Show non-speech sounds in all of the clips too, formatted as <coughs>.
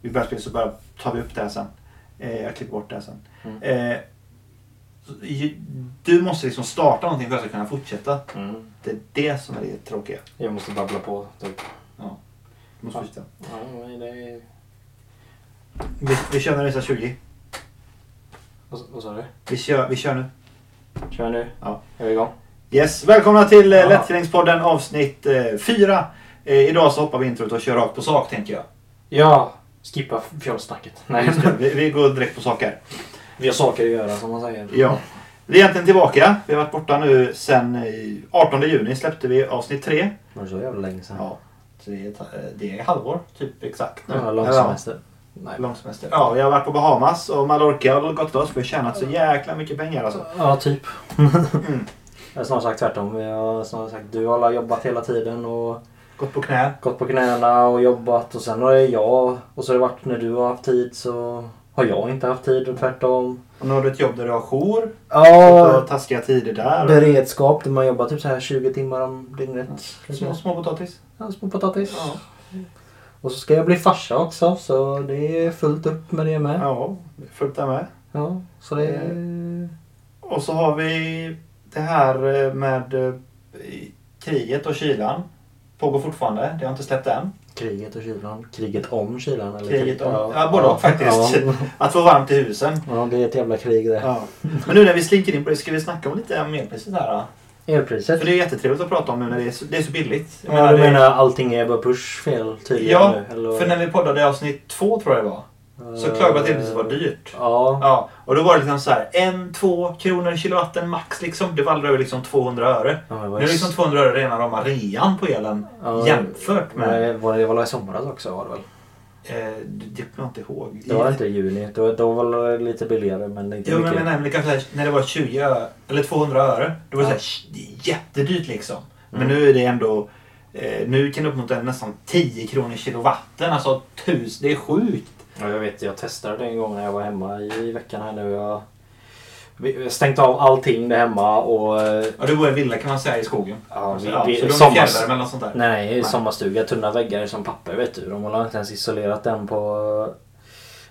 vid världskriget så bara tar vi upp det här sen. Eh, jag klipper bort det här sen. Mm. Eh, så ju- du måste liksom starta någonting för att jag ska kunna fortsätta. Mm. Det är det som är det tråkiga. Jag måste babbla på typ. Ja. Du måste Ja. fortsätta. Ja, men det är... Vi, vi kör när det är 20. Vad, vad sa du? Vi kör, vi kör nu. Kör nu. Ja. Är vi igång? Yes, välkomna till Ja. eh, Lättfillingspodden avsnitt 4. Eh, idag så hoppar vi introt och kör rakt på sak tänker jag. Ja! Skippa fjolsnacket. Nej, just det. Vi, vi går direkt på sak här. Vi har saker att göra som man säger. Ja. Vi är egentligen tillbaka. Vi har varit borta nu sen eh, 18 juni släppte vi avsnitt 3. Var det så jävla länge sedan? Ja, så det är, ett- eh, det är halvår typ exakt nu. Ja, lång Eller, ja, semester. Nej. Långsemester. Ja, vi har varit på Bahamas och Mallorca och gått loss. Vi har tjänat så jäkla mycket pengar alltså. Ja, typ. Mm. <laughs> Jag har snarare sagt tvärtom. Jag har snarare sagt du alla har jobbat hela tiden och Gått på knä. gått på knäna och jobbat och sen har det jag och så har det varit när du har haft tid så har jag inte haft tid och tvärtom. Och nu har du ett jobb där du har jour. Och du har Ja, taskiga tider där. beredskap där man jobbar typ så här 20 timmar om dygnet. Små, små potatis. Ja, små potatis. Ja. Och så ska jag bli farsa också så det är fullt upp med det med. Ja, fullt där med. Ja, så det är... Eh. Och så har vi det här eh, med eh, kriget och kylan. Pågår fortfarande. Det har inte släppt än. Kriget och kylan. Kriget om kylan. Eller Kriget om. Ja, både och faktiskt. Ja. Att få varmt i husen. ja, det är ett jävla krig det. Ja. Men nu när vi slinker in på det ska vi snacka om lite om elpriset här. då? Elpriset. För det är jättetrevligt att prata om nu när det är så, det är så billigt. Jag Ja, du det- menar allting är bara pushfel tydligen Ja, nu? Eller? Eh. för när vi poddade i avsnitt två tror jag det var. Så klagade vi på att elpriset var dyrt. Ja, Ja, och då var det liksom så här en, två kronor kilowatten max liksom. Det var aldrig över liksom 200 öre. Ja, det Nu var är det liksom 200 öre rena rama rean på elen Ja, jämfört med... men var det var väl i somras också var det väl? Eh, det det kommer jag inte ihåg. Det var inte i juni. Det var, då var det lite billigare men inte Jo men mycket. jag menar men det kanske är, när det var 20 ö- eller 200 öre. Då var det Ja. så här, det är jättedyrt liksom. Men Mm. nu är det ändå... Eh, nu kan det uppnå till nästan 10 kronor kilowatten. Alltså tus, det är sjukt. Ja, jag vet, jag testade det en gång när jag var hemma i, i veckan här nu. Jag vi- jag stängt av allting där hemma och... eh, Ja du bor i en villa kan man säga i skogen. Ja, vi, ja, vi, så de sommars, fjärrvärme eller något sånt där. nej, nej, sommarstuga. Tunna väggar som papper vet du. De har inte ens isolerat den på...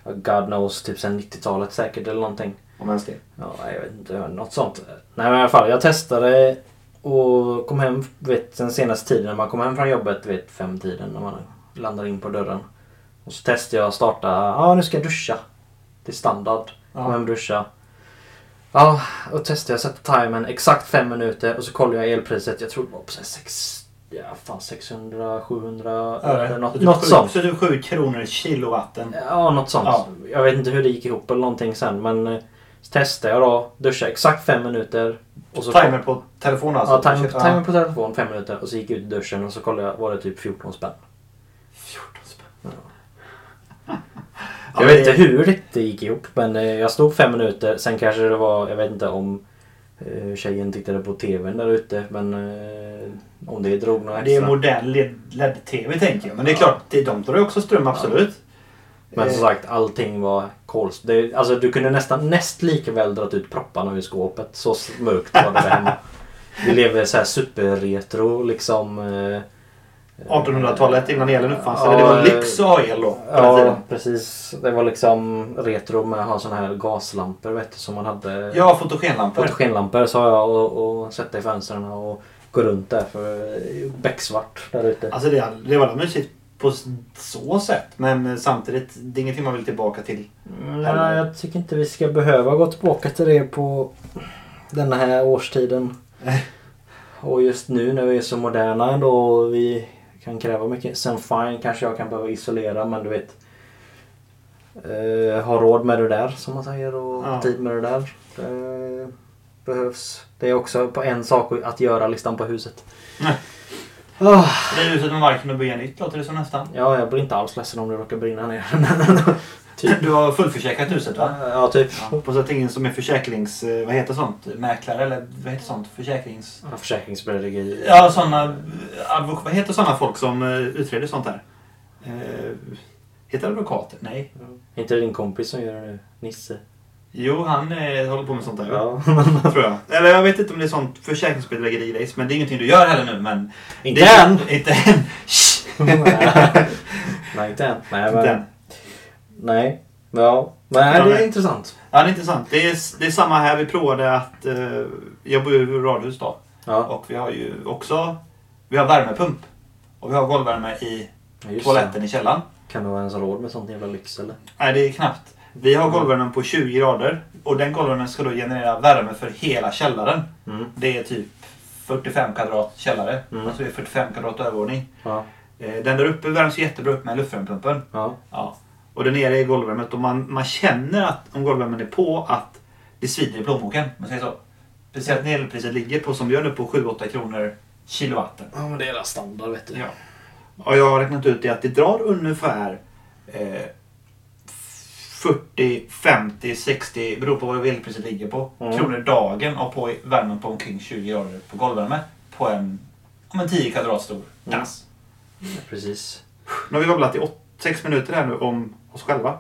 eh, God knows, typ sen 90-talet säkert eller någonting. Om ens det. Ja, jag vet inte. Något sånt. Nej men i alla fall, jag testade och kom hem du vet, den senaste tiden när man kom hem från jobbet, du vet femtiden när man landar in på dörren. Och så testade jag att starta, ja ah, nu ska jag duscha. Det är standard. Ja. Kom hem och duscha. Ja, och testade jag sätta timern exakt fem minuter och så kollade jag elpriset. Jag tror det var på så här sex, ja, fan 600, 700 eller Så något, typ något sju- sånt. Så typ 7 kronor kilowatten. Ja, något sånt. Ja. Jag vet inte hur det gick ihop eller någonting sen men eh, så testade jag då. Duschade exakt fem minuter. Och så Timer på telefon alltså. ja, timer, Ja. timer på telefon fem minuter och så gick jag ut i duschen och så kollade jag. Var det typ 14 spänn? 14 spänn. Jag vet inte hur det gick ihop men eh, jag stod fem minuter. Sen kanske det var, jag vet inte om eh, tjejen tittade på TVn där ute men eh, om det drog några Det är extra. modern LED- LED-TV tänker jag. Men det är klart, det- de tar ju också ström absolut. men som Eh, sagt allting var kolst. Det, alltså du kunde nästan näst lika väl dragit ut propparna ur skåpet. Så mörkt var det där <laughs> hemma. Vi lever så här superretro liksom. eh, 1800-talet innan elen uppfanns. eller Ja, det var eh, lyx att ha el då. på den Ja, tiden. precis. Det var liksom retro med att ha såna här gaslampor vet du, som man hade. Ja, fotogenlampor. Fotogenlampor sa jag och, och sätta i fönstren och gå runt där för det är becksvart där ute. Alltså det, det var mysigt på så sätt. Men eh, samtidigt, det är ingenting man vill tillbaka till. Nej, jag tycker inte vi ska behöva gå tillbaka till det på den här årstiden. Och just nu när vi är så moderna ändå och vi kan kräva mycket. Sen fine kanske jag kan behöva isolera men du vet. Eh, ha råd med det där som man säger och Ja. tid med det där. Det behövs. Det är också på en sak att göra-listan på huset. Nej. Ah, Det är huset med marken och bygga nytt låter det som nästan. ja, jag blir inte alls ledsen om det råkar brinna ner. <laughs> typ. Du har fullförsäkrat huset va? Ja, typ. Ja, hoppas att ingen som är försäkrings... eh, Vad heter sånt? Mäklare eller vad heter sånt? Försäkrings... Ja, Försäkringsbedrägeri. Ja, såna... Advok- vad heter såna folk som eh, utreder sånt här? Eh, heter det advokater? Nej. Är inte din kompis som gör det nu? Nisse? Jo, han eh, håller på med sånt där. <laughs> Tror jag. Eller jag vet inte om det är sånt försäkringsbedrägeri men det är ingenting du gör heller nu. Men inte det är, än! Inte än! Shh, <laughs> Nej, inte än. Nej, inte än. men, Nej. Ja. Men Ja, nej, det är nej. intressant. Ja, det är intressant. Det är, det är samma här. Vi provade att... Eh, jag bor ju i radhus då. Ja, Och vi har ju också... Vi har värmepump. Och vi har golvvärme i ja, just toaletten i källaren. det. Kan du ha ens råd med sånt jävla lyx eller? Nej, det är knappt. Vi har golvvärmen på 20 grader. Och den golvvärmen ska då generera värme för hela källaren. Mm. Det är typ 45 kvadrat källare. Mm. Alltså det är 45 kvadrat övervåning. Ja. Eh, Den där uppe värms jättebra upp med luftvärmepumpen. Ja. Ja. Och den nere är golvvärmet och man, man känner att om golvvärmen är på att det svider i plånboken. om Man säger så. Speciellt när elpriset ligger på, som vi gör nu, på 7-8 kronor kilowatten. Ja men det är hela standard vet Ja. Och jag har räknat ut det att det drar ungefär eh, 40, 50, 60, beror på vad elpriset ligger på, Mm. kronor dagen och på värmen på omkring 20 grader på golvvärme på en, om en 10 kvadrat stor Mm. dass. Precis. Nu har vi babblat i 6 minuter här nu om oss själva.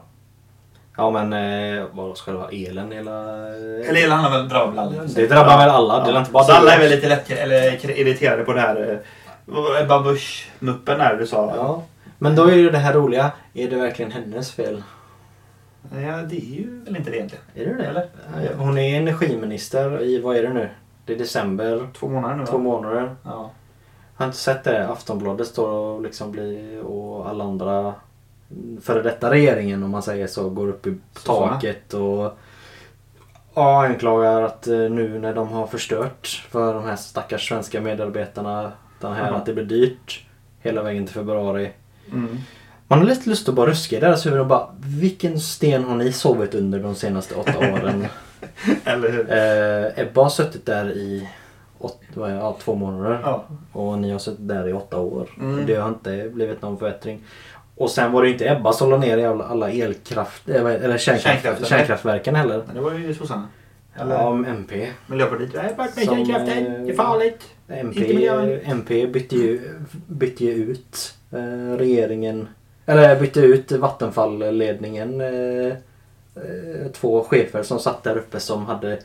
Ja men eh, vad ska det vara? Elen hela... Eller det handlar väl drabbar väl alla? Det drabbar väl alla. Det är inte bara Så du. alla är väl lite lätt, eller kr- irriterade på det här eh, Ebba Busch-muppen där du sa. Ja. Men då är ju det här roliga. Är det verkligen hennes fel? Ja, det är ju väl inte det egentligen. Är det det Eller? Eh, Hon är energiminister i, vad är det nu? Det är december. Två månader nu va? Två månader. Ja. Har inte sett det? Aftonbladet står och liksom blir och alla andra före detta regeringen om man säger så går upp i Sossarna. taket och ja, anklagar att eh, nu när de har förstört för de här stackars svenska medarbetarna den här Mhm. att det blir dyrt hela vägen till februari. Mm. Man har lite lust att bara ruska i deras huvud och bara vilken sten har ni sovit under de senaste åtta <laughs> åren? Eller hur? eh, Ebba har suttit där i åt, vad är det? ja, två månader. Ja. Och ni har suttit där i åtta år. Mm. Det har inte blivit någon förbättring. Och sen var det ju inte Ebba som la ner jävla- alla elkraft, eh, vad- eller kärnkraft, Kärnkraftverk. kärnkraftverken heller. Men det var ju sossarna. Eller Ja, men MP. Miljöpartiet. Nej, bort med Som, kärnkraften. eh, Det är farligt. Inte MP, miljön. MP bytte, ju, bytte ju ut eh, regeringen, eller bytte ut Vattenfall-ledningen. Eh, eh, två chefer som satt där uppe som hade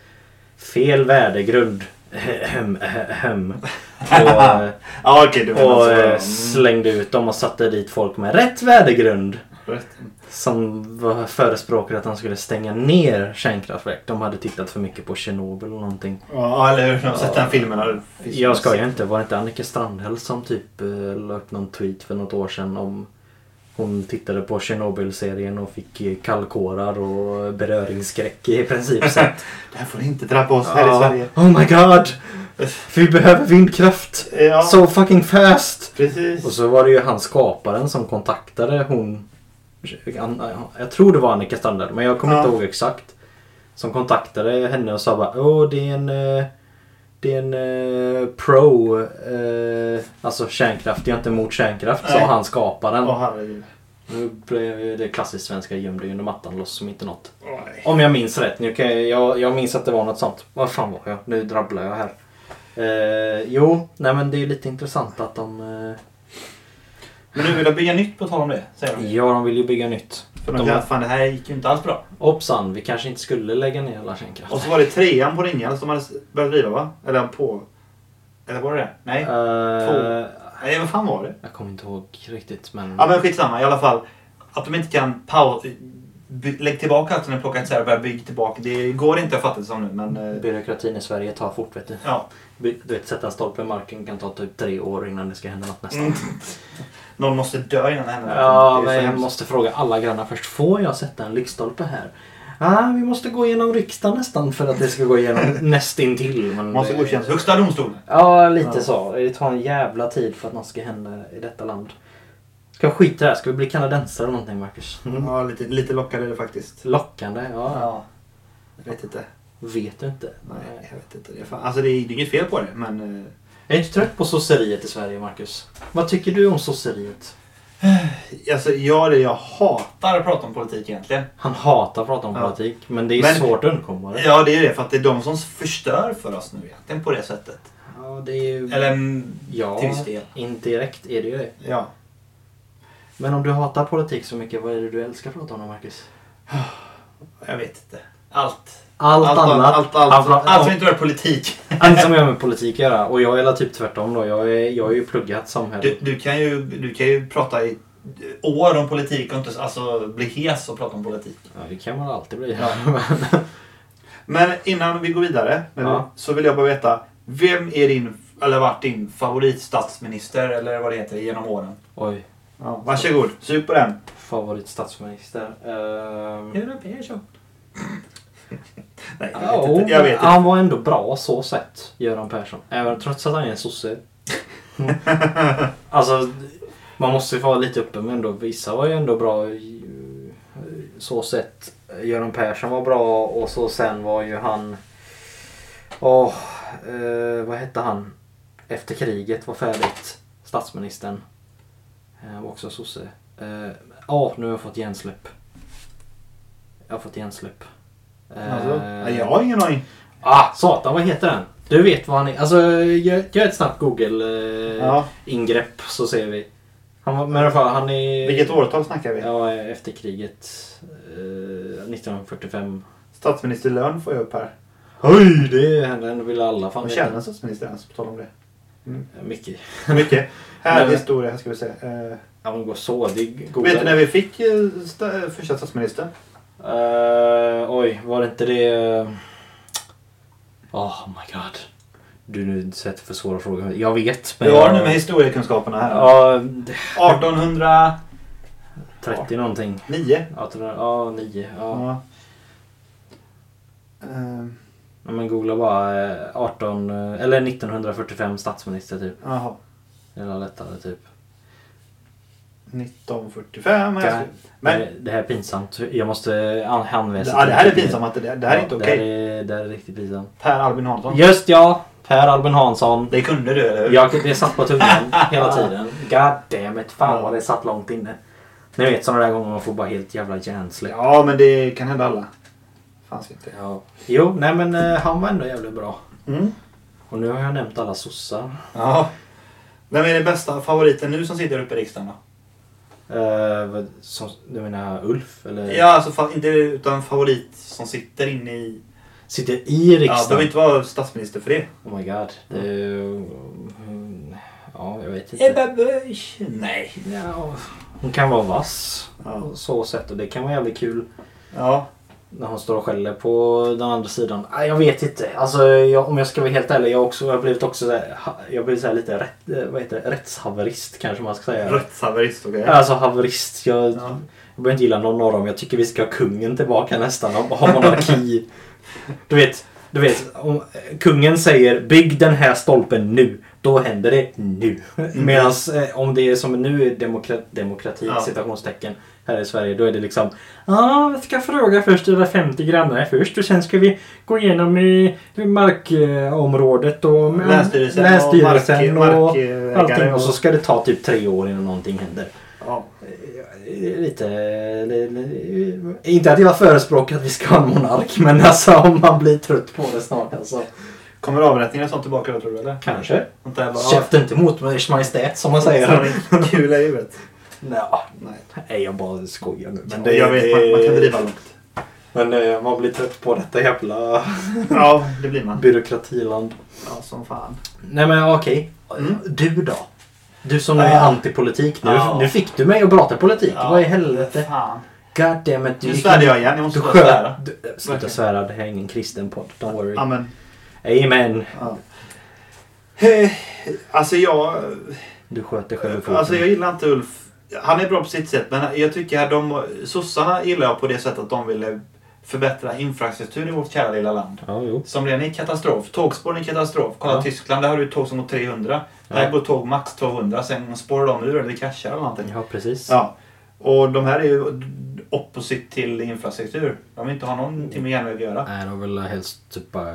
fel värdegrund. <laughs> <laughs> och, eh, Ja, okej. det och eh, var slängde ut dem och satte dit folk med rätt värdegrund. Som var- förespråkade att han skulle stänga ner kärnkraftverk. De hade tittat för mycket på Tjernobyl och någonting. Ja, eller hur? De har sett Ja. den filmen. här. Jag skojar inte. Var det inte Annika Strandhäll som typ eh, la upp någon tweet för något år sedan om hon tittade på Tjernobyl-serien och fick eh, kallkårar och beröringsskräck i princip. Så att, Det här får inte drabba oss <laughs> här i Sverige. Ja, Oh my god! Vi behöver vindkraft! Ja, So fucking fast! precis. Och så var det ju han skaparen som kontaktade hon. An- Jag tror det var Annika Strandhäll men jag kommer Ja. inte ihåg exakt. Som kontaktade henne och sa bara åh det är en eh, det är en eh, pro, eh, alltså kärnkraft, jag är inte emot kärnkraft, sa Nej. han skaparen. Åh, herregud. Nu blev ju det klassiskt svenska gömde under mattan, låtsas som inte något. Åh, nej. Om jag minns rätt. Nu kan jag, jag, jag minns att det var något sånt. Vad fan var jag? Nu drabblar jag här. Eh, jo, nej men det är lite intressant att de... Eh, Men nu vill jag bygga nytt på tal om det, säger de. ja, de vill ju bygga nytt. För de säger att fan, det här gick ju inte alls bra. Hoppsan, vi kanske inte skulle lägga ner alla Och så kärnkraftverk. var det trean på Ringhals de hade börjat driva, va? Eller på... Eller var det det? Nej. Eh, Nej, vad fan var det? jag kommer inte ihåg riktigt men... Ja men skitsamma i alla fall. Att de inte kan pau- by- lägg tillbaka allt som de plockat isär och börja bygga tillbaka. Det går inte att fatta det som nu men... eh, Byråkratin i Sverige tar fort vet du. Ja. By- Du vet, sätta en stolpe i marken kan ta typ tre år innan det ska hända något nästan. Någon måste dö innan det händer Ja, någonting. Mm. Det är så men jag hemskt. måste fråga alla grannar först. Får jag sätta en lyktstolpe här? ah, vi måste gå igenom riksdagen nästan för att det ska <laughs> gå igenom nästintill. Men Måste det- godkännas högsta domstolen. Ja, lite Ja. så. Det tar en jävla tid för att något ska hända i detta land. Ska vi skita i det här? Ska vi bli kanadensare eller någonting, Marcus? Ja, lite, lite lockade är det faktiskt. Lockande, ja. Mm. Ja. Jag vet inte. Vet du inte? Nej, jag vet inte. Det är fan... Alltså det är inget fel på det men... eh, Jag är inte trött på sosseriet i Sverige, Marcus. Vad tycker du om sosseriet? Alltså jag, det jag hatar att prata om politik egentligen. Han hatar att prata om Ja. politik, men det är Men- svårt att undkomma det. Ja det är det för att det är de som förstör för oss nu egentligen på det sättet. Ja, det är ju... Eller mm, ja, till viss del. indirekt är det ju det. Ja. Men om du hatar politik så mycket, vad är det du älskar att prata om då, Marcus? Jag vet inte. Allt. Allt, annat. Allt, allt, allt, Allt- allt, som inte rör politik. Allt som har med politik att göra. Och jag är väl typ tvärtom då. Jag, är, jag har ju pluggat samhälle. Du, du, kan ju, du kan ju prata i år om politik och inte alltså, bli hes och prata om politik. Ja, det kan man alltid bli. Ja. <laughs> Men- Men innan vi går vidare men, Ja. så vill jag bara veta. Vem är din, eller varit din favoritstatsminister eller vad det heter genom åren? Oj. Ja, varsågod, sug på den. Favoritstatsminister. Ehm, Europeisson. Nej, jag vet ja, inte. Jag vet inte. han var ändå bra så sett, Göran Persson. Även trots att han är en sosse. <laughs> Mm. alltså, man måste ju få vara lite öppen men ändå. Vissa var ju ändå bra i- så sett. Göran Persson var bra och så sen var ju han... Åh, eh, vad hette han? Efter kriget var färdigt. Statsministern. Eh, var också sosse. Eh, Ja, nu har jag fått hjärnsläpp. Jag har fått hjärnsläpp. Eh, Alltså, nej, jag har ingen aning. Ah, satan vad heter den? Du vet vad han är. Alltså gör, gör ett snabbt Ja. Google-ingrepp så ser vi. Han var, men i alla fall han är... Vilket årtal snackar vi? Ja, efter kriget. Eh, 1945. Statsministerlön får jag upp här. Oj, det hände. Den vill alla fan Vad veta. tjänar en statsminister ens? På tal om det. Mycket. Mycket. Här Nej, är men- historia, här ska vi se. Eh, Ja, men går så. Det är goda. vet du när vi fick eh, sta- eh, första statsministern? Eh, oj, var det inte det... eh, Oh my god. Du nu sätter för svåra frågor. Jag vet, men... Vi har nu med historiekunskaperna här. Ja, 1809. 30 någonting. Ja, tror jag. ja nio. Ja. Ja. Eh, Ja. Men googla bara eh, 18, eh, eller 1945 statsminister typ. Jaha. Eller lättare typ. 1945. Det Jag här- skulle- Men det, det här är pinsamt. Jag måste an- hänvisa ja, det här är till- pinsamt. att Det, det här är Ja, inte det okej. här är- Det här är riktigt pinsamt. Per Albin Hansson. Just ja! Per Albin Hansson. Det kunde du, eller hur? Jag, det satt på tungan <laughs> hela tiden. God damn it, fan vad det satt långt inne. Ni vet sådana där gånger man får bara helt jävla hjärnsläpp. Ja, men det kan hända alla. Fan ska inte. Ja. Jo, nej men eh, han var ändå jävligt bra. Mm. Och nu har jag nämnt alla sossar. Ja. Vem är den bästa favoriten nu som sitter uppe i riksdagen då? Eh, vad- som, du menar Ulf? Eller? Ja, alltså fa- inte utan favorit som sitter inne i... Sitter i Ja, behöver riksdagen? inte vara statsminister för det. Oh my god. Det är ju- mm, ja, jag vet inte. Ebba Busch. Nej. Ja, hon kan vara vass. Ja. På så sätt. Och det kan vara jävligt kul. Ja. När hon står och skäller på den andra sidan. Ah, jag vet inte. Alltså, jag, om jag ska vara helt ärlig. Jag, har också, jag har blivit också så här, ha- jag har blivit så här lite rätt, eh, vad heter det? rättshaverist kanske man ska säga. Rättshaverist, okej. Alltså haverist. Jag, Ja. jag börjar inte gilla någon av dem. Jag tycker vi ska ha kungen tillbaka nästan och <laughs> ha monarki. du vet, du vet om kungen säger bygg den här stolpen nu. Då händer det nu. Medan eh, om det är som nu är demokra demokrati, Mm. Ja. citationstecken, här i Sverige. Då är det liksom ja, vi ska fråga först era 50 grannar först och sen ska vi gå igenom i markområdet och Länsstyrelsen och länsstyrelsen mark- och markägare allting. och- Och så ska det ta typ tre år innan någonting händer. Ja. Eh, Lite... li- li- Inte att jag förespråkar att vi ska ha en monark men alltså om man blir trött på det snart alltså. Kommer avrättningar och sånt tillbaka då, tror du, eller? Kanske. Sånt där bara... ja. Käften inte emot mig, Ers Majestät som man säger. Så är det Kul i huvudet. Nja, Nej. Nej, jag bara skojar nu. Men Men det, jag vet, man, man kan driva långt. Men eh, man blir trött på detta jävla Ja, det blir man. byråkratiland. Ja, som fan. Nej men okej. Mm. Du då? Du som nu är Ja. antipolitik nu. Ja. Nu fick du mig att prata politik. Ja, Vad i helvete? Fan. God damn it. du Nu gick- svärde jag igen. Jag måste Du bara sköt... svära. du- äh, Sluta svära, det här är ingen kristen podd. Don't worry. Amen. Amen. Ja. Eh, Alltså jag... Du sköt dig själv i foten. Alltså jag gillar inte Ulf. Han är bra på sitt sätt men jag tycker att de... Sossarna gillar jag på det sättet att de ville förbättra infrastruktur i vårt kära lilla land. Ja, jo. Som redan är katastrof. Tågspåren är katastrof. Kolla Ja. Tyskland, där har du tåg som går 300. Där Ja. går tåg max 200. Sen spårar de ur eller kraschar eller någonting. Ja, precis. Ja. Och de här är ju opposite till infrastruktur. De vill inte ha någonting med järnväg att göra. Nej, Äh, de vill helst typ bara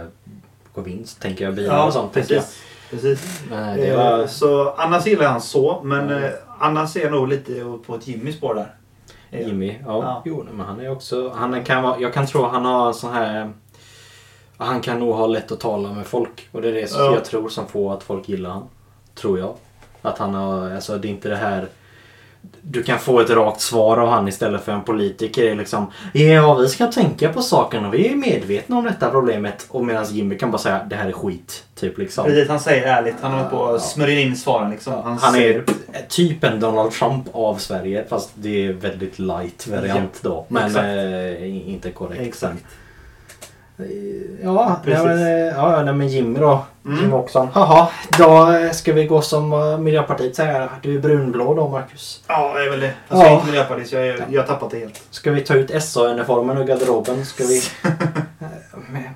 gå vinst, tänker jag. Bilar och Ja, sånt, tänker jag. precis. precis. Nej, det Eh, var... Så annars gillar jag han så, men Mm. eh, annars är jag nog lite åt- på ett Jimmys spår där. Eh, Jimmy, ja. Ja. Jo, nej, men han är också... Han kan vara, jag kan tro han har sån här... eh, Han kan nog ha lätt att tala med folk. Och det är det som Ja. jag tror som får att folk gillar han. Tror jag. Att han har... Alltså det är inte det här... du kan få ett rakt svar av han istället för en politiker. Det är liksom, ja, vi ska tänka på saken och vi är medvetna om detta problemet. Och medan Jimmy kan bara säga det här är skit. Typ liksom. Precis, han säger ärligt. Han håller på och smörjer in svaren liksom. Han, Han är säger- typ en Donald Trump av Sverige fast det är väldigt light variant då. Men Exakt. eh, inte korrekt. Eh, Exakt. Ja, nej, Precis. men, eh, ja, nej, men Jimmy då. Mm. Jimmy också. Jaha, då eh, ska vi gå som eh, Miljöpartiet säger. Du är brunblå då Marcus. Ja, det är väl det. Fast jag Ja. är inte miljöpartist. Jag, är- jag har tappat det helt. Ska vi ta ut SA-uniformen ur garderoben? Ska <laughs> vi eh,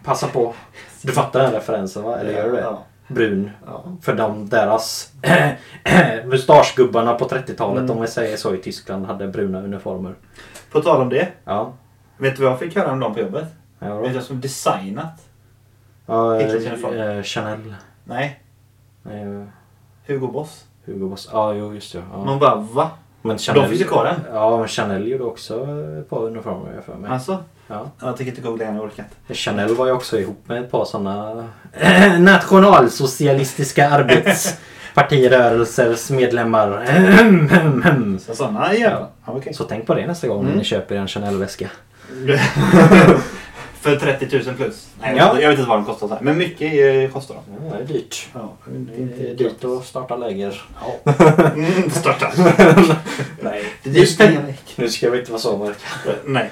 passa på? Du fattar den referensen va? Eller gör du det? Ja. Brun. ja. För de deras <clears throat> mustaschgubbarna på 30-talet Mm. om vi säger så i Tyskland hade bruna uniformer. På tal om det. Ja. Vet du vad jag fick höra om dem på jobbet? Ja, Vet du vem som designat? ja, eh, Hitlers uniform. eh, Chanel. Nej, Nej, eh, Hugo Boss. Hugo Boss. Ja, jo just det. Ja. Man bara va? Men Chanel, Mm. De finns ju kvar än. Ja, men Chanel gjorde också ett par uniformer har jag för mig. Alltså? Ja. Jag tänker inte googla igen, jag orkar inte. Chanel var ju också ihop med ett par sådana <clears throat> nationalsocialistiska arbetspartirörelsers medlemmar. <clears throat> Så sådana jävlar. Ja, okej. <laughs> Så tänk på det nästa gång när Mm. ni köper en Chanel-väska. För 30 000 plus. Nej, Ja. jag, vet, jag vet inte vad de kostar. Så här. Men mycket eh, kostar de. Ja, det är dyrt. Ja, Det är dyrt att starta läger. <laughs> <laughs> Mm, <laughs> störta. Nej. Det är stenrik. Nu ska vi inte vara så mörka. Nej. Nej.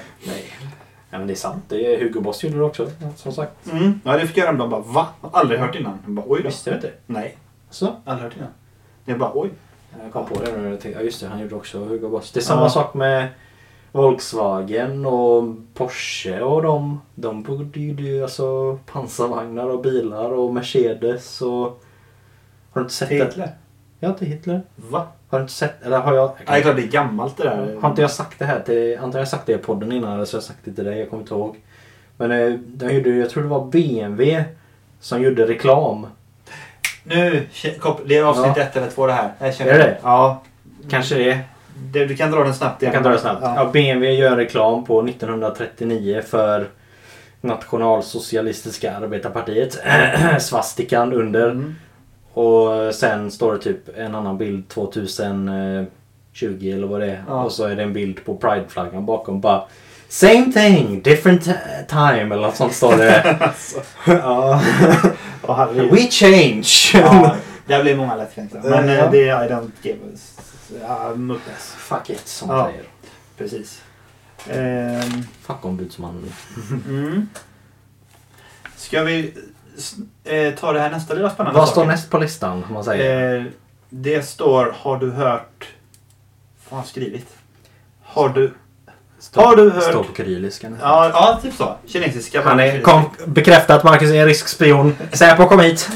Nej men det är sant. Det är Hugo Boss gjorde det också. Som sagt. Mm. Ja, det fick jag höra om dem. Bara, va? Aldrig hört innan. Jag Bara, oj då. Visste du inte? Nej, Så. aldrig hört innan. Jag bara, oj. Jag kom på det nu. när jag tänkte, Ja just det, han gjorde också Hugo Boss. Det är samma Ja. sak med Volkswagen och Porsche och de. De borde ju du, alltså pansarvagnar och bilar och Mercedes och... Har du inte sett det? Hitler? Ja, till Hitler. Va? Har du inte sett? Eller har jag... Nej, det är klart det är gammalt det där. Har inte jag sagt det här till... Antar jag sagt det i podden innan eller så har jag sagt det till dig. Jag kommer inte ihåg. Men eh, de gjorde, jag tror det var BMW som gjorde reklam. Nu, ke- kop- det är avsnitt Ja. ett eller två det här. Jag känner Är det det? Ja. Kanske det. Det, du kan dra den snabbt. Jag kan dra det snabbt. Ja. Ja. BMW gör reklam på 1939 för Nationalsocialistiska Arbetarpartiet. <clears throat> Svastikan under. Mm. Och sen står det typ en annan bild 2020 eller vad det är. Ja. Och så är det en bild på Pride-flaggan bakom. Bara Same thing, different eh, time eller något sånt står det. <laughs> alltså. ja. Och herregud. <laughs> We change! Ja, det blir många lättkränkta. Men Ja. eh, det är I don't give a... s- ja, mutters. Fuck it som Ja. man säger. Precis. Ehm, Fuck ombudsmannen. mm. Ska vi s- eh, ta det här nästa lilla spännande Vad står saken? näst på listan? om Man säger. Eh, det står Har du hört... Vad har han skrivit? Har du... Stå- har du hört- Står på kyrilliska nästan. Ja, ja typ så. Kinesiska. Han är kom, bekräftat Marcus är en rysk spion. Säpo <laughs> kom hit.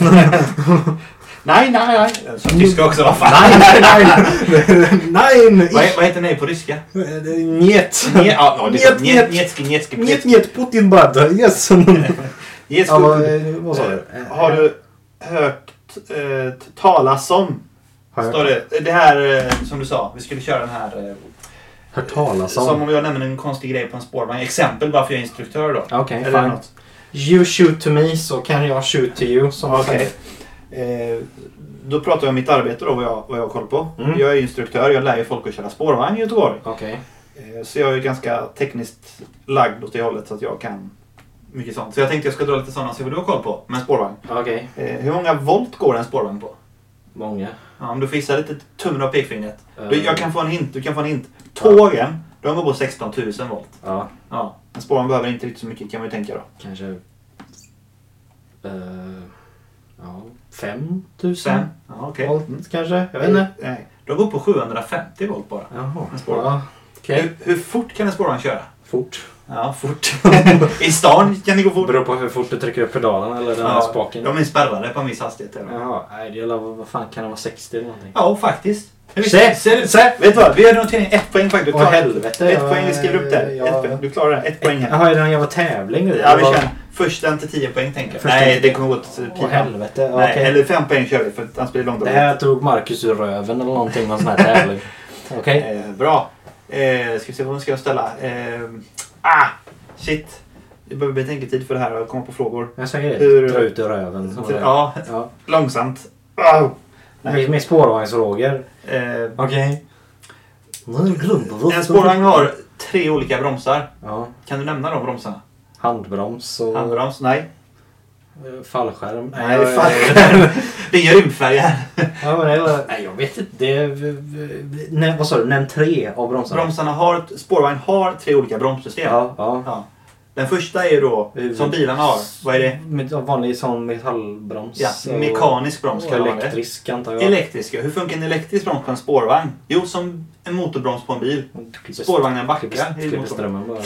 Nej, nej, nej. Så tyska också. Vad fan? nej, <laughs> nej. nej. Vad, vad heter nej på ryska? Njet. Nje- ja, ja, det är så. Njet, njet. Nje- Njetski, njetski, Njet, njetski. njet, Putin bad. Yes. <laughs> Njetski. Ja, vad, eh, vad sa du? Eh, Har du hört eh, t- talas om? Har jag Står det. Det här eh, som du sa, vi skulle köra den här. Eh, hört talas om? Som om jag nämner en konstig grej på en spårvagn. Exempel bara för jag är instruktör då. Okej, Eller fine. något. You shoot to me så kan jag shoot to you. Som man Okej. säger. Eh, då pratar jag om mitt arbete då, vad jag, vad jag har koll på. Mm. Jag är instruktör, jag lär ju folk att köra spårvagn i Göteborg. Okej. Eh, så jag är ju ganska tekniskt lagd åt det hållet så att jag kan mycket sånt. Så jag tänkte jag ska dra lite sådana och se vad du har koll på med en spårvagn. Okej. Eh, hur många volt går en spårvagn på? Många. Ja, om du fixar lite tummen och pekfingret. Du, Eh. jag kan få en hint. Du kan få en hint. Tågen, de går på 16 000 volt. Ja, Ja, en spårvagn behöver inte riktigt så mycket kan man ju tänka då. kanske... Eh, ja, 5000 Sen? Ja, okej. volt Mm. kanske? Jag vet inte. Nej, de går på 750 volt bara. Jaha. En spårvagn. Ja, Okej. Hur, hur fort kan en spårvagn köra? Fort. Ja, fort. <laughs> I stan kan det gå fort. Beror på hur fort du trycker upp pedalen eller den här Ja, spaken. de är spärrade på en viss hastighet. är de. Jaha, nej det gäller, vad fan kan det vara 60 eller någonting? Ja, faktiskt. Men vi- Se! ser du? Se! Vet du vad? Vi gör noteringen ett poäng faktiskt. Du Åh, klarar det. helvete, Ett jag- poäng, vi skriver upp det. jag- Ett poäng. Du klarar det. Ett poäng här. Jaha, är det någon jävla tävling nu? Ja, vi Eller vad? kör första en till tio poäng tänker jag. Första Nej, en- det kommer gå till Åh pipan. helvete, ja, Nej, okej. eller fem poäng kör vi för att annars blir det Det långdraget. här tog Marcus ur röven eller någonting, någon sån här <laughs> tävling. Okej. Eh, bra. Eh, ska vi se vad vi ska ställa. Eh, ah, shit. Det behöver betänketid för det här och komma på frågor. Jag säger det. Hur- Dra ut ur röven. som det är. Ja, Ja. långsamt. Au. Med, med spårvagnsfrågor. Eh, Okej. Nej, jag glömde det. En spårvagn har tre olika bromsar. Ja. Kan du nämna de bromsarna? Handbroms och Handbroms? Nej. eh, fallskärm. Nej, jag- fan. <laughs> Det är ju rymdfärjan. Ja, men det var, nej, jag vet inte. Det, nej, vad sa du? Nämn tre av bromsarna. Bromsarna har, spårvagn har tre olika bromssystem. Ja, ja. Ja. Den första är ju då, Huvud- som bilarna har, vad är det? Med en vanlig sån metallbroms. Ja, och- mekanisk broms och kallar man det. Elektrisk antar jag. Elektrisk, ja. Hur funkar en elektrisk broms på en spårvagn? Jo, som en motorbroms på en bil. Elektrisk. Spårvagnen backar. i Klipper motorn. strömmen <laughs> bara.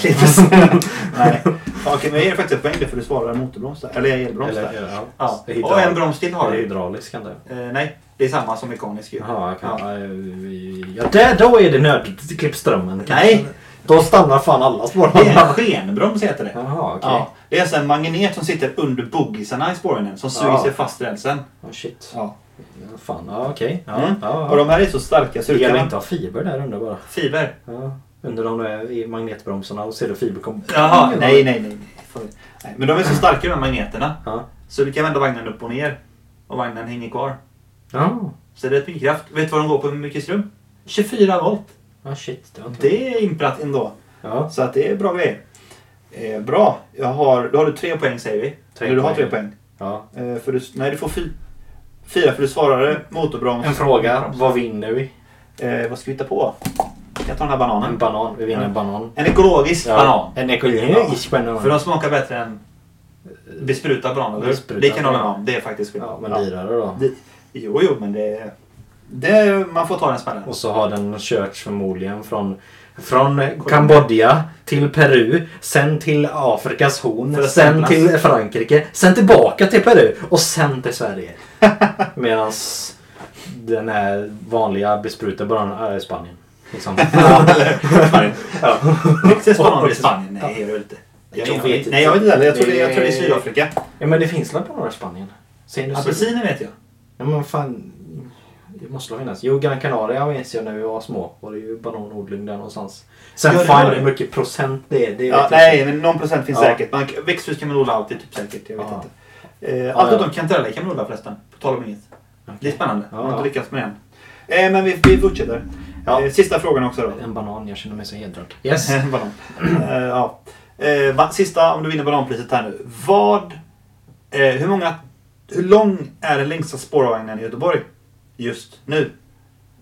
Nej. Okej, men jag ger faktiskt ett poäng där för du svarar motorbroms där. Eller elbroms Eller, där. ja. Ja. Hydral- Och en broms till har Det är du. hydraulisk antar jag. Eh, nej, det är samma som mekanisk ju. Jaha, jag kan, Ja. ja. ja, där, då är det nödvändigt. Klipp strömmen kanske. Nej. Då stannar fan alla Det är en spårvagnar. skenbroms heter det. Jaha, okej. Ja, det är alltså en magnet som sitter under boggisarna i spårvagnen som suger Ja. sig fast i rälsen. Oh, shit. Ja. Ja, Fan, ja okej. Ja, Mm. ja, Och ja. de här är så starka så Det du gäller kan... inte ha fiber där under bara. Fiber. Ja. Under de där i magnetbromsarna och ser du fiber kom. Jaha, nej, nej, nej. nej. Får- nej. Men de är så starka de här magneterna Ja. så du kan vända vagnen upp och ner och vagnen hänger kvar. Ja, Så det är rätt mycket kraft. Vet du vad de går på i mycket ström? 24 volt. Ja, Ah, shit. Det var inte... Det är imprat ändå. Ja. Så att det är bra grejer. Eh, bra. Jag har, då har du tre poäng säger vi. Tre Eller du har poäng. tre poäng. ja. Eh, för du, nej, du får fy, fyra för du svarade motorbroms. En fråga. Vad vinner vi? Eh, vad ska vi hitta på? Jag kan ta den här En bananen. banan. Vi vinner Ja. en banan. En ekologisk banan. En ekologisk banan. För de smakar bättre än eh, besprutad banan, eller hur? Besprutad Det kan jag hålla med banan. om. Det är faktiskt skillnad. Ja, men dyrare då. Det- Jo, jo, men det... det man får ta den smällen. Och så har den körts förmodligen från, från Kambodja till Peru, sen till Afrikas För horn, att sen samlas. till Frankrike, sen tillbaka till Peru och sen <laughs> till Sverige. Medan den här vanliga besprutade bananen är i Spanien. Liksom. Spanien. <laughs> Ja. Texas bananer i Spanien? Nej, det gör det inte. Jag, Jag vet vet inte. inte. Nej, jag vet inte heller. Jag tror det, jag tror det är Det- Sydafrika. ja, men det finns väl bananer i Spanien? Ser ni så- Apelsiner vet jag. Ja, men fan. Det måste väl finnas. Jo, Gran Canaria minns jag när vi var små. Var det ju bananodling där någonstans. Ja, Sen det var fan det. hur mycket procent det är. Det Ja, vet jag inte. nej, men någon procent finns Ja. säkert. Man, växthus kan man odla alltid, typ säkert. Jag vet Ja. inte. Eh, Ja, allt ja. utom kantareller kan man odla förresten. På tal om inget. Det är spännande. Ja, Man har ja. inte lyckats med den. Eh, men vi, vi fortsätter. Ja. Eh, sista frågan också då. En banan, jag känner mig så hedrad. <laughs> Yes. Banan. Eh, ja. eh, va- sista, om du vinner bananpriset här nu. Vad... Eh, hur många... Hur lång är den längsta spårvagnen i Göteborg? Just nu.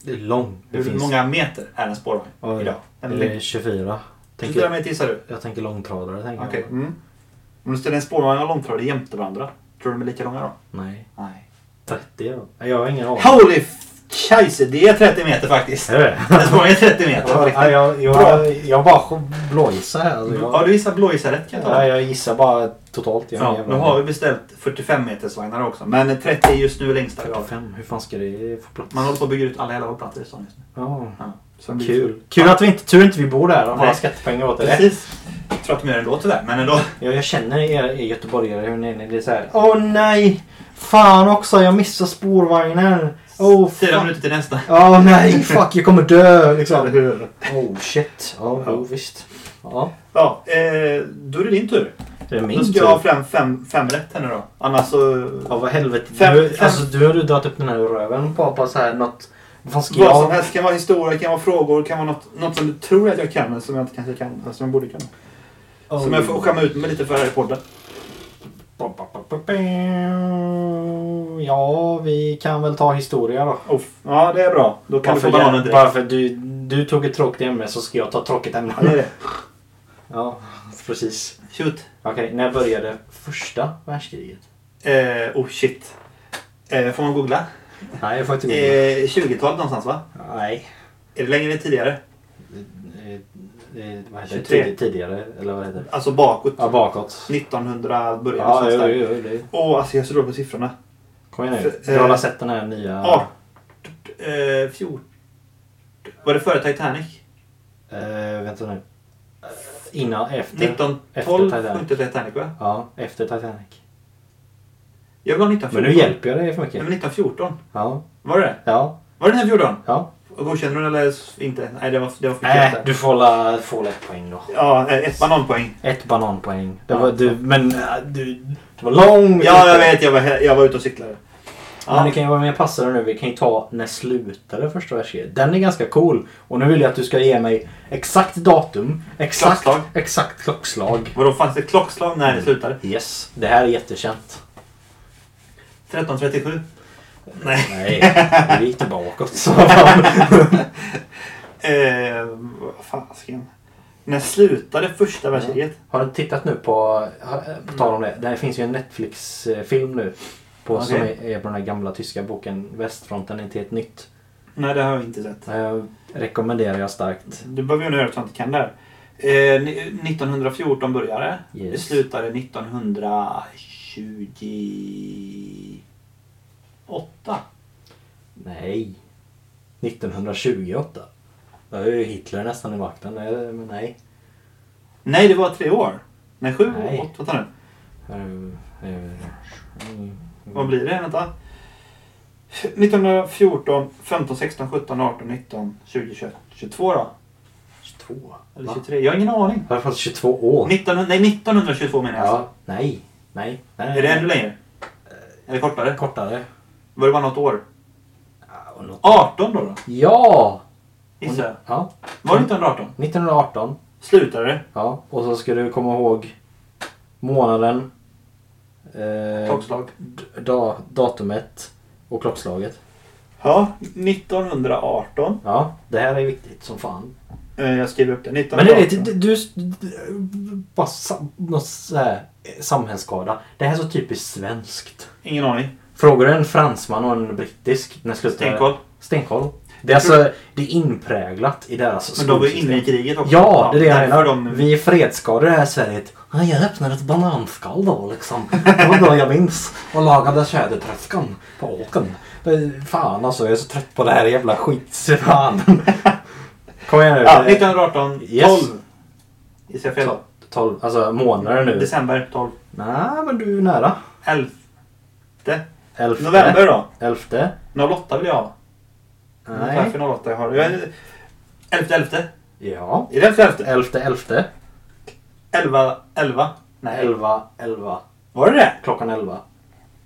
Det är lång. Det Hur finns. många meter är en spårvagn Oj. idag? Den Eller längsta. 24. Tänker, 24 meter gissar du? Jag tänker långtradare. Tänker Okej. jag. Mm. Om du ställer en spårvagn och en långtradare jämte varandra, tror du de är lika långa då? Nej. Nej. 30 då? Nej, Jag har ingen aning. Holy f- scheisse, det är 30 meter faktiskt. Är det? <laughs> En spårvagn är 30 meter. på Ja, riktigt. jag, jag, jag bara blågissar här. Alltså, Har jag, du gissat blågissar rätt kan jag ta? ja, jag gissar bara totalt. Jag Ja, nu har vi beställt 45 meters vagnar också. Men 30 är just nu längsta vi har. 45. Hur fan ska det få plats? Man håller på att bygga ut alla hela hållplatser i stan just nu. Ja. Ja. Så det blir- Kul. Kul att vi inte, tur inte vi bor där och har Nej. skattepengar åt det. Precis. Jag tror att de gör det ändå tyvärr, men ändå. Jag, jag känner er, er göteborgare hur ni ni är så här. Åh nej! Fan också, jag missar spårvagnen. Åh Fyra fan. minuter till nästa. Åh nej, fuck jag kommer dö liksom. hur? Oh shit. Ja, Ja. jo, visst. Ja. Ja, eh, då är det din tur. Det är då min ska tur. jag ha fram fem, fem rätt här nu då. Annars så... Ja, vad helvete. Fem- du, fem- Alltså, du har ju dragit upp den här ur röven på, på så här något... Vad fan ska Vad som jag... helst. kan vara historia, kan vara frågor, kan vara något, något som du tror att jag kan men som jag inte kanske kan. Eller som jag borde kunna. Oh. Som jag får skämma ut mig lite för här i podden. Ja, vi kan väl ta historia då. Uff. Ja, det är bra. Då kan du Varför, få bananen jag, direkt. varför du, du tog ett tråkigt ämne så ska jag ta ett tråkigt Ja, <laughs> det är ämne. det. Ja, precis. Shoot. Okej, när jag började första världskriget? Eh, oh shit. Eh, får man googla? Nej, jag får inte googla. Eh, 20-talet någonstans va? Nej. Är det längre än tidigare? Eh, eh, vad heter det? 23. Tid, tidigare, eller vad heter det? Alltså bakåt. Ja, bakåt. 1900 början Ja, någonstans jo, där. jo, jo, det. Åh, alltså jag är så dålig på siffrorna. Kom igen nu. För, eh, Du har alla sett den här nya... Ja. Eh, 14. Var det före Titanic? Eh, vänta nu. Innan, efter. 1912 efter Titanic. sjönk det Titanic va? Ja, efter Titanic. Jag vill ha 1914. Men nu hjälper jag dig för Nej, mycket. men 1914. Ja. Var det det Ja. Var det den här 14? Ja. Godkänner du den eller inte? Nej, det var, det var för Nej, mycket. Äh, du får la, får la ett poäng då. Ja, eh, ett bananpoäng. Ett bananpoäng. Det var, du, men äh, du, det var långt. Ja, jag vet. Jag var, he- jag var ute och cyklade. Men det kan ju vara mer passande nu. Vi kan ju ta När slutade första världskriget? Den är ganska cool. Och nu vill jag att du ska ge mig exakt datum, exakt, Klockslag. exakt klockslag. Vadå, fanns det klockslag när det slutade? Yes, det här är jättekänt. 1337? Nej. Nej, vi <laughs> gick tillbaka. Så fan. Eh, vad fasken. När slutade första världskriget? Har du tittat nu på, har- på tal om det, det här finns ju en Netflix-film nu. På, Som Okej. är, är på den här gamla tyska boken Västfronten inte helt nytt. Nej, det har jag inte sett. Eh, rekommenderar jag starkt. Du behöver ju nog göra ett sånt kan där. Eh, ni- 1914 började. Yes. Det slutade 1928. Nej. 1928. Då är ju Hitler nästan i makten. Nej, men nej. Nej, det var tre år. Nej, sju Nej. år. Åtta, vänta nu. Eh, eh, mm, Vad blir det? Vänta. 1914, 15, 16, 17, 18, 19, 20, 21, 22 då? 22? Eller Va? 23? Jag har ingen aning. I alla fall 22 år. 19, nej, 1922 menar jag. alltså. Ja, nej. Nej. nej. Är det ännu längre? Eller kortare? kortare? Var det bara något år? Ja, och något- 18 då? då? Ja! Gissar jag. Ja, Var det 1918? 1918. Slutade det? Ja, och så ska du komma ihåg månaden, eh, Klockslag. d- da, datumet och klockslaget. Ja, 1918. Ja, det här är viktigt som fan. Eh, Jag skriver upp det. Men 1918. du vet, du... du du- bara sam, något så här, eh, samhällsskada. Det här är så typiskt svenskt. Ingen aning. Frågar du en fransman och en brittisk när slutar Stenkoll. Stenkoll. Det är alltså det är inpräglat i deras Men de var ju skolsystem. inne i kriget också. Ja, det är det jag därför menar. de- Vi är fredsskadade här i Sverige. Ja, jag öppnade ett bananskal då liksom. Det var då jag minns. Och lagade tjädertröskan på åken. Det- Fan alltså, jag är så trött på det här jävla skit. Så Fan. Kom igen nu. Ja, 1918. Yes. 12. Eh, Gissar jag fel? Tol- Tolv, alltså månader nu. December 12. Nej, men du är nära. 11. Elfte. November då? Elfte. 08 vill jag ha. Nej. Varför 08 jag har. Jag är... 11 11. Ja. Är det 11 11? Elfte, elfte. 11 11? Nej. Elva, elva. Var det det? Klockan elva.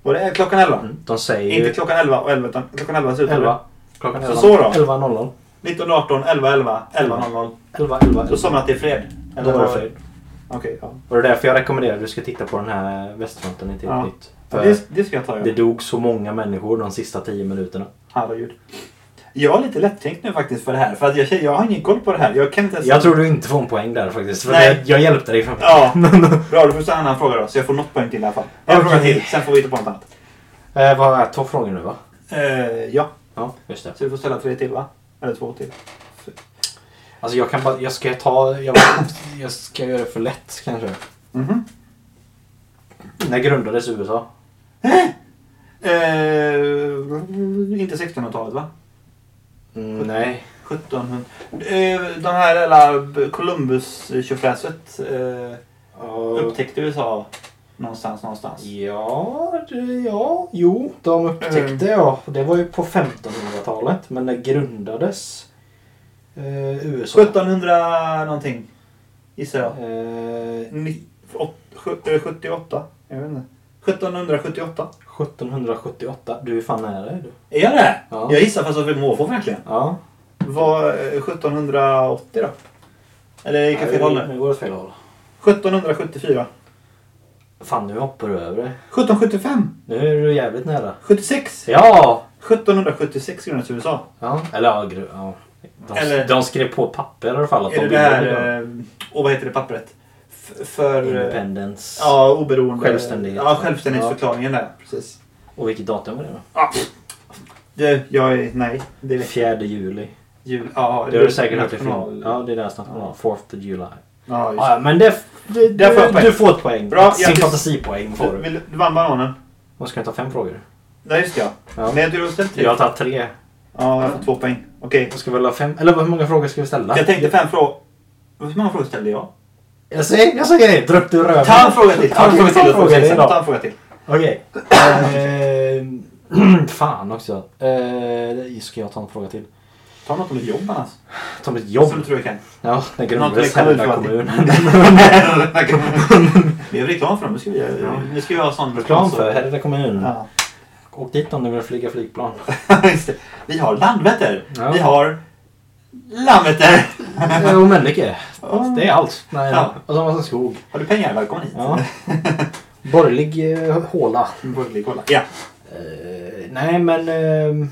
Var det klockan 11? De säger Mm. Inte ju... klockan 11 och 11 utan klockan 11 slutade det. Mm. Elva. Klockan Så elva. så då? Elva, noll, noll. 1918, 11 11, 11 00. Elva, Då elva, elva. sa man att det är fred. Då var det vad- fred. Okej, ja. Och det är därför jag rekommenderar att du ska titta på den här Västfronten inte helt Ja. nytt. ja För det, det ska jag ta. det Ja. dog så många människor de sista tio minuterna. Herregud. Jag är lite lättkränkt nu faktiskt för det här. För att jag, känner- jag har ingen koll på det här. Jag kan inte ens... Jag tror du inte får en poäng där faktiskt. För Alltså- Nej. det, jag hjälpte dig fram. <laughs> Ja. Bra, du får ställa en annan fråga då. Så jag får något poäng till i alla fall. En Okej. fråga till, sen får vi hitta på något annat. Eh, vad är två frågor nu va? Eh, ja, Ja, just det. så du får ställa tre till va? Eller två till. Alltså jag kan bara, jag ska ta, jag, jag ska göra det för lätt kanske. Mhm. När grundades USA? Eh, inte 1600-talet va? Mm, nej. 1700. Eh, de här jävla Columbus-tjofräset eh, upptäckte USA någonstans, någonstans. Ja, det, ja, jo, de upptäckte ja. Det var ju på 1500-talet, men det grundades eh, USA. 1700 någonting gissar jag. Eh, Ni- åt- sju- eh, 78? Jag vet inte. 1778. 1778. Du är fan nära är du. Är jag det? Ja. Jag gissar fast att vi måfå verkligen. Ja. Var eh, 1780 då? Eller gick jag fel håll nu? Nu går det åt fel håll. 1774. Fan, nu hoppar du över det. 1775. Nu är du jävligt nära. 76. Ja! 1776 grundades i USA. ja. Eller ja, gru- ja. De, Eller- de skrev på papper i alla fall. Att Är det de det ville här... göra. eh, Och vad heter det pappret? F- för... eh, Independence. Ja, oberoende. Självständighet. Ja, självständighetsförklaringen där. Precis. Och vilket datum var det då? Ja. Det, jag är... Nej. Det är 4 juli. jul. Ja, Det har du säkert hört i national- film. Ja, det är deras national. Fourth of July. Ja, just Ja, men det, det, Där får jag du, poäng. du får ett poäng. Bra, Sin grattis. fantasipoäng får det. du. Vill, du vann bananen. Vad ska jag ta? Fem frågor? Nej, just det, ja. Ja. Nej, du har ställt tre. Jag har tagit tre. Ja, jag får två poäng. Okej. Jag ska väl ha fem... Eller hur många frågor ska vi ställa? Jag tänkte fem frågor. Hur många frågor ställde jag? Jag säger, jag säger det! Drömt ur röven. Ta en fråga till. Ta en Okej, fråga till. och så får vi se. idag. Ta en fråga till. <clears throat> Okej. Ehm, <clears throat> Fan också. Ehm, Ska jag ta en fråga till? Ta något om ditt jobb annars. Ta mitt Som jobb. du tror <laughs> jag kan. Ja, den Något grundades vi kan hela utföra. kommunen. Vi gör reklam för dem. Nu ska vi, nu ska vi ha sån <laughs> Reklam för Hedda kommun. Ja. <laughs> Åk dit om ni vill flyga flygplan. Just det. Vi har Landvetter. Ja. Vi har Landvetter. och Mölnlycke. Det är allt. Nej, Ja. Och så har massa skog. Har du pengar? Välkommen hit. <laughs> Ja. Borgerlig eh, håla. Borgerlig kolla. Ja. Eh, nej men... ehm,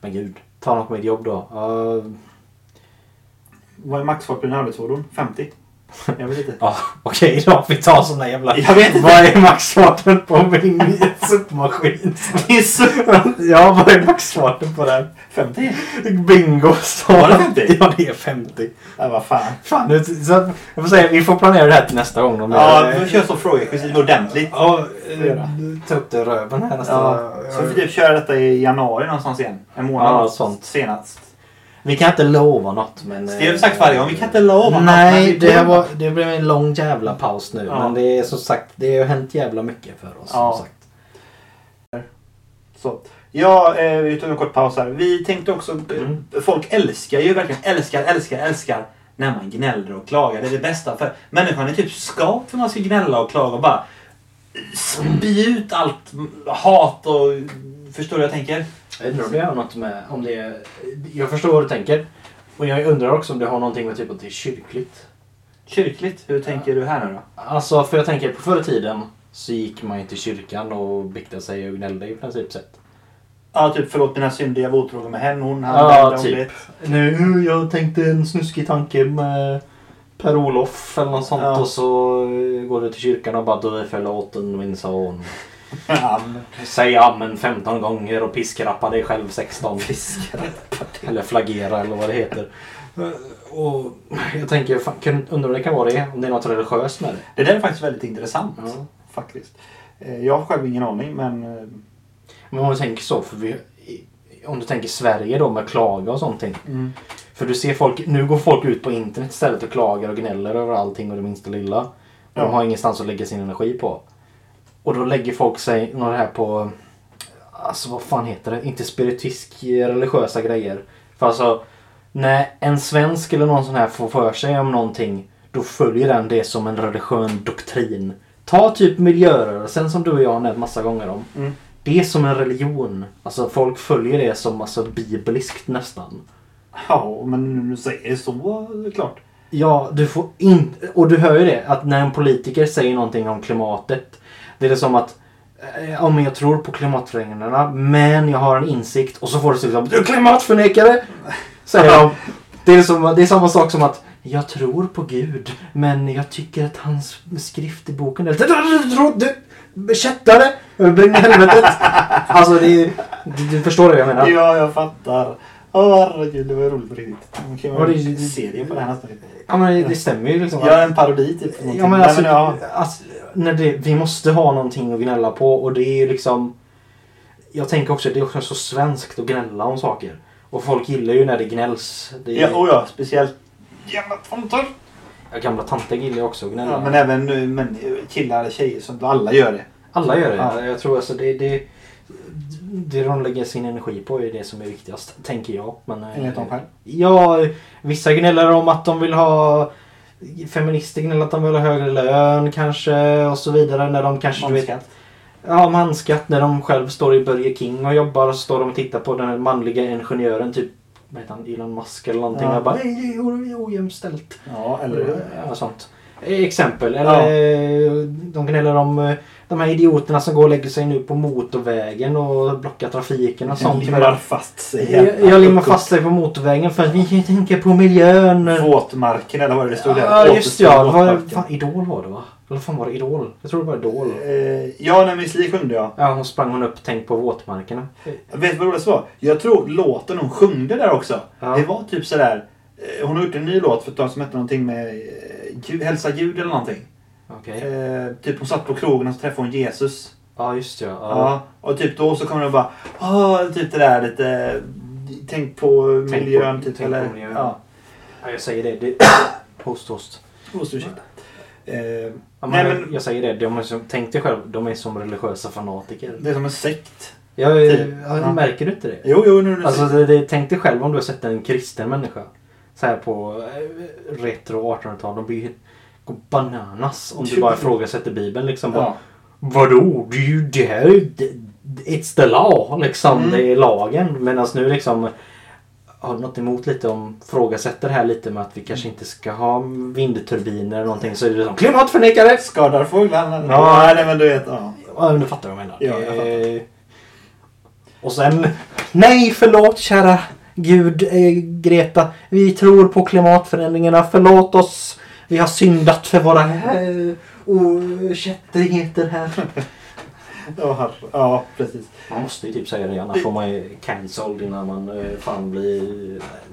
men gud. Ta något på mitt jobb då. Eh, Vad är maxfart på din arbetsfordon? 50? Jag vet inte. Ja, <laughs> okej då. Vi tar såna jävla... Jag vet inte. <laughs> Vad är maxfarten på min sopmaskin? <laughs> Det är så- ja, vad är maxfarten på den? 50? Bingo sa Var det han. 50? <laughs> Ja, det är 50. Ja, vad fan. Fan, nu, så, att- jag får säga, vi får planera det här till nästa gång. Om Ja, jag, vi kör som frågequiz ordentligt. ja får göra. eh, ta upp det i röven här nästa Ja. Så vi får typ köra detta i januari någonstans igen. En månad Ja, sånt. senast. Vi kan inte lova något. Men, eh, Det har vi sagt varje gång. Vi kan inte lova något, Nej, men vi- det, här var, det blev en lång jävla paus nu. Ja. Men det är som sagt, det har hänt jävla mycket för oss. Ja. Som sagt. Så. Ja, eh, vi tog en kort paus här. Vi tänkte också... eh, Mm. Folk älskar ju verkligen, älskar, älskar, älskar när man gnäller och klagar. Det är det bästa. För människan är typ skapt för att man ska gnälla och klaga och bara spy ut allt hat och... Förstår du vad jag tänker? Jag undrar om det har något med... Om det är, jag förstår vad du tänker. Och jag undrar också om det har någonting med typ att det är kyrkligt. Kyrkligt, hur tänker du här nu då? Alltså, för jag tänker på förr i tiden så gick man ju till kyrkan och biktade sig och gnällde i princip sett. Ja, typ förlåt mina synder, jag var otrogen med henne, hon, han, Ja, den, de typ. vet. Nu, jag tänkte en snuskig tanke med Per-Olof eller något sånt Ja. och så eh, går du till kyrkan och bara du förlåten min son. <laughs> Ja, Säg amen 15 gånger och piskrappa dig själv <laughs> 16. fiskar. Eller flagera eller vad det heter. Eh, Och jag tänker, fan, kan- undrar om det kan vara det? Om det är något religiöst med det? Det där är faktiskt väldigt intressant. Ja. Faktiskt. Eh, Jag har själv ingen aning, men... eh, Men om du tänker så, för vi, i- om du tänker Sverige då med klaga och sånt. För du ser folk, nu går folk ut på internet istället och klagar och gnäller över allting och det minsta lilla. Och Ja. De har ingenstans att lägga sin energi på. Och då lägger folk sig några här på, alltså vad fan heter det, inte spiritisk eh, religiösa grejer. För alltså, när en svensk eller någon sån här får för sig om någonting, då följer den det som en religiös doktrin. Ta typ miljörörelsen som du och jag har nämnt massa gånger om. Mm. Det är som en religion. Alltså folk följer det som alltså bibliskt nästan. Ja, men nu säger det så, eh, det är klart. Ja, du får inte... Och du hör ju det, att när en politiker säger någonting om klimatet. Det är det som att... eh, Ja, men jag tror på klimatförändringarna, men jag har en insikt. Och så får du liksom... Du är klimatförnekare! Säger de. Det är, som, det är samma sak som att... Jag tror på Gud, men jag tycker att hans skrift i boken är... Du, du, du, du, du, Kättare! Bring i helvetet! Alltså, det är, du, du förstår det jag menar. Ja, jag fattar. Åh, herregud, det var ju roligt på riktigt. Man kan Ja, det göra är ju- en serie på det här nästan. Ja, men det stämmer ju liksom. Gör en parodi typ. på någonting. Ja, men alltså, Nej, men, ja. alltså, när det, vi måste ha någonting att gnälla på och det är ju liksom... Jag tänker också att det är också så svenskt att gnälla om saker. Och folk gillar ju när det gnälls. Det är, Ja, och ja, speciellt jävla tomtar. Gamla tanter gillar ju också att gnälla. Ja, men även nu, men eh, killar och tjejer, som alla gör det. Alla gör det. Ja. Jag tror alltså det, det... Det de lägger sin energi på är det som är viktigast, tänker jag. Men, eh, Enligt dem själv. Ja, vissa gnäller om att de vill ha... Feminister gnäller att de vill ha högre lön kanske och så vidare när de kanske... du vet, Manskatt. Ja, manskatt när de själv står i Burger King och jobbar och så står de och tittar på den här manliga ingenjören typ vad heter han, Elon Musk eller någonting. Ja. Jag bara "Ej, det är o- ojämställt. Ja, eller hur? Ja, sånt. Eh, Exempel. Eller eh, de gnäller om eh, de här idioterna som går och lägger sig nu på motorvägen och blockar trafiken och sånt. Limmar fast sig. Jag, jag limmar fast sig på motorvägen för att vi kan ju tänka på miljön. Våtmarken eller vad det stod där. Ja, just Återstår ja. Det Var, våtmarken. fan, Idol var det va? Eller fan var det Idol? Jag tror det var Idol. Eh, ja, när Miss Li sjunde ja. Ja, hon sprang hon upp tänk på våtmarkerna. Vet du vad roligt var? Jag tror låten hon sjungde där också. Ja. Det var typ sådär. eh, Hon har gjort en ny låt för ett tag som hette någonting med eh, Gud, Hälsa Gud eller någonting. Okej. Eh, typ hon satt på krogen och så träffade hon Jesus. Ja, just det, ja. ja. Ja. Och typ då så kommer hon bara. Åh, typ det där lite. Tänk på Tänk miljön på- typ. tänk eller, på miljön. Ja. Ja, jag säger det. det... <coughs> host, host. Måste ursäkta. Eh, Ja, men, Nej, men- Jag säger det. De är som, tänk dig själv, de är som religiösa fanatiker. det är som en sekt. Jag, Typ. jag, Ja. Märker du inte det? Jo, jo, nu, nu Alltså, det, det, tänk dig själv om du har sett en kristen människa. Så här på eh, retro 1800-tal. De blir går <laughs> bananas om du bara ifrågasätter bibeln. Liksom bara, ja. Vadå? Det, är ju- det här är ju- det, It's the law liksom. Mm. Det är lagen. Medan nu liksom har du något emot lite om frågasätter här lite med att vi Mm. kanske inte ska ha vindturbiner eller någonting så är det liksom, som klimatförnekare! Skadar fåglarna. Ja. Ja, nej, men du vet. Ja. Ja, men du fattar vad jag menar. Ja, jag fattar. Eh, Och sen, nej förlåt kära Gud, eh, Greta. Vi tror på klimatförändringarna. Förlåt oss. Vi har syndat för våra eh, okätterigheter här. <laughs> Ja, herre- ja, precis. Man måste ju typ säga det annars får man ju cancelled innan man eh, fan blir...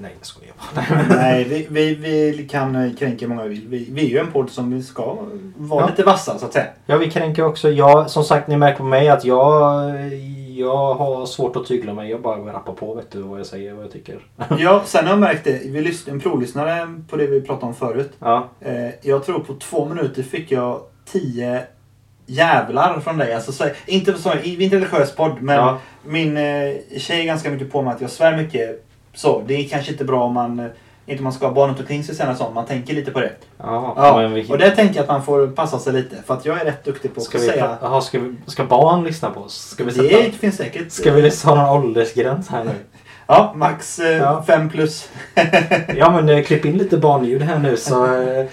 Nej, jag skojar bara. Nej, vi, vi, vi kan eh, kränka hur många vi vill. Vi, vi är ju en podd som vi ska vara Ja. lite vassa så att säga. Ja, vi kränker också. Jag, som sagt, ni märker på mig att jag, eh, jag har svårt att tygla mig. Jag bara rappar på vet du vad jag säger, vad jag tycker. Ja, sen har jag märkt det. Vi lyssn- en provlyssnare på det vi pratade om förut. Ja. Eh, jag tror på två minuter fick jag tio jävlar från dig. Alltså, så, inte, så, i- vi är inte en religiös podd men Ja. min eh, tjej är ganska mycket på mig att jag svär mycket. Så det är kanske inte bra om man eh, inte man ska ha barnet omkring sig sen och sånt. Man tänker lite på det. Ja, Ja, men vi, och det tänker jag att man får passa sig lite. För att jag är rätt duktig på att ska, vi, säga. aha, ska, vi, ska barn lyssna på oss? Ska vi, sätta, Det finns säkert. ska vi liksom ha någon åldersgräns här nu? Ja, max Ja. 5 plus. Ja, men eh, klipp in lite barnljud här nu så eh,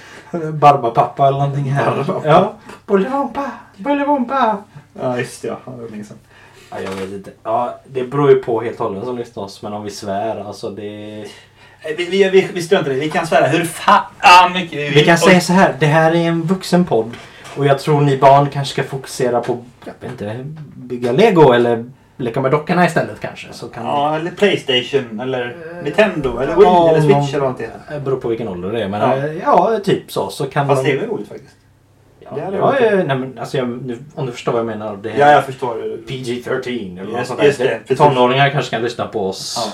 Barbapappa eller någonting här. Barbapappa. Ja. Bolibompa! Bolibompa! Ja, just det. Ja, det var länge sedan. Ja, jag vet inte. Ja, det beror ju på helt och hållet som lyssnar oss. Men om vi svär, alltså det... Eh, Vi, vi, vi, vi struntar i det. Vi kan svära hur fan mycket vi vill. Vi kan Och- säga så här, det här är en vuxenpodd. Och jag tror ni barn kanske ska fokusera på, jag vet inte, bygga lego eller leka med dockorna istället kanske. Så kan Ja, eller Playstation eller Nintendo eller Ja, Wii eller Switch någon- eller vad det heter. Det Eh, beror på vilken ålder det är men Ja. eh, ja, typ så. så kan Fast de, det är väl roligt faktiskt? ja, det hade ja, varit eh, nej, men, alltså, jag, nu, Om du förstår vad jag menar. Det är Ja, jag förstår. det. PG-13 eller något Just- sånt där. just det, Det- precis. Tonåringar kanske kan lyssna på oss.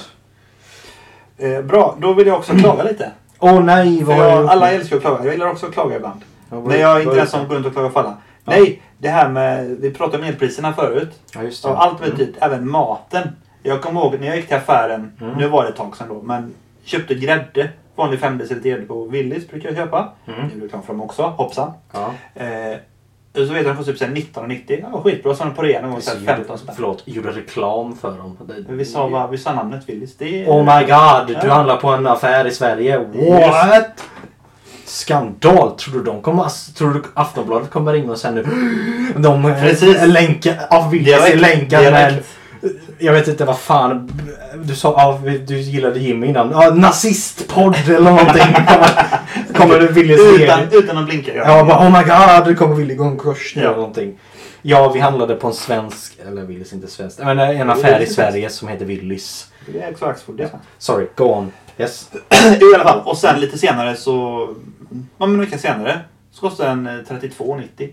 Eh, bra, då vill jag också klaga lite. Åh nej, För vad har jag jag, gjort alla nu? älskar att klaga. Jag gillar också att klaga ibland. Ja, vad- Men jag är vad inte den som går runt och klagar för alla. Nej, det här med... Vi pratade om elpriserna förut. Ja, just det. Och allt med typ, även maten. Jag kommer ihåg när jag gick till affären, Mm. nu var det ett tag sedan då, men köpte grädde. Vanlig femdecilit grädde på Willys brukar jag köpa. Mm. Nu reklam för dem också, hoppsan. Ja. Eh, och så vet jag att den kostar typ så här 19,90. Ja, skitbra. Så har den på rea någon gång så här 15 spänn. Förlåt, gjorde reklam för dem. Det- Men Vi sa, bara, vi sa namnet Willys. Det är... Oh my god, du Ja. handlar på en affär i Sverige. Yes. What? Skandal! Tror du, de kommer, alltså, tror du Aftonbladet kommer ringa och säga nu... <gasps> De eh, Precis. länkar... Av vilka Direkt, är länkar direkt. med... Jag vet inte vad fan... Du sa ja, du gillade Jimmy innan. Ja, nazistpodd eller <laughs> någonting. Kommer, kommer du vilja se Utan, utan att blinka. Ja. Ja, bara, oh my god, det kommer Willy gå en kurs nu Ja. eller någonting. Ja, vi handlade på en svensk, eller Willys inte svensk, men en affär i Sverige som heter Willys. Det är Axfood. Det är sant. Sorry, go on. Yes. <clears throat> I alla fall. Och sen lite senare så... Ja, men en vecka senare. Så kostar den eh, 32,90.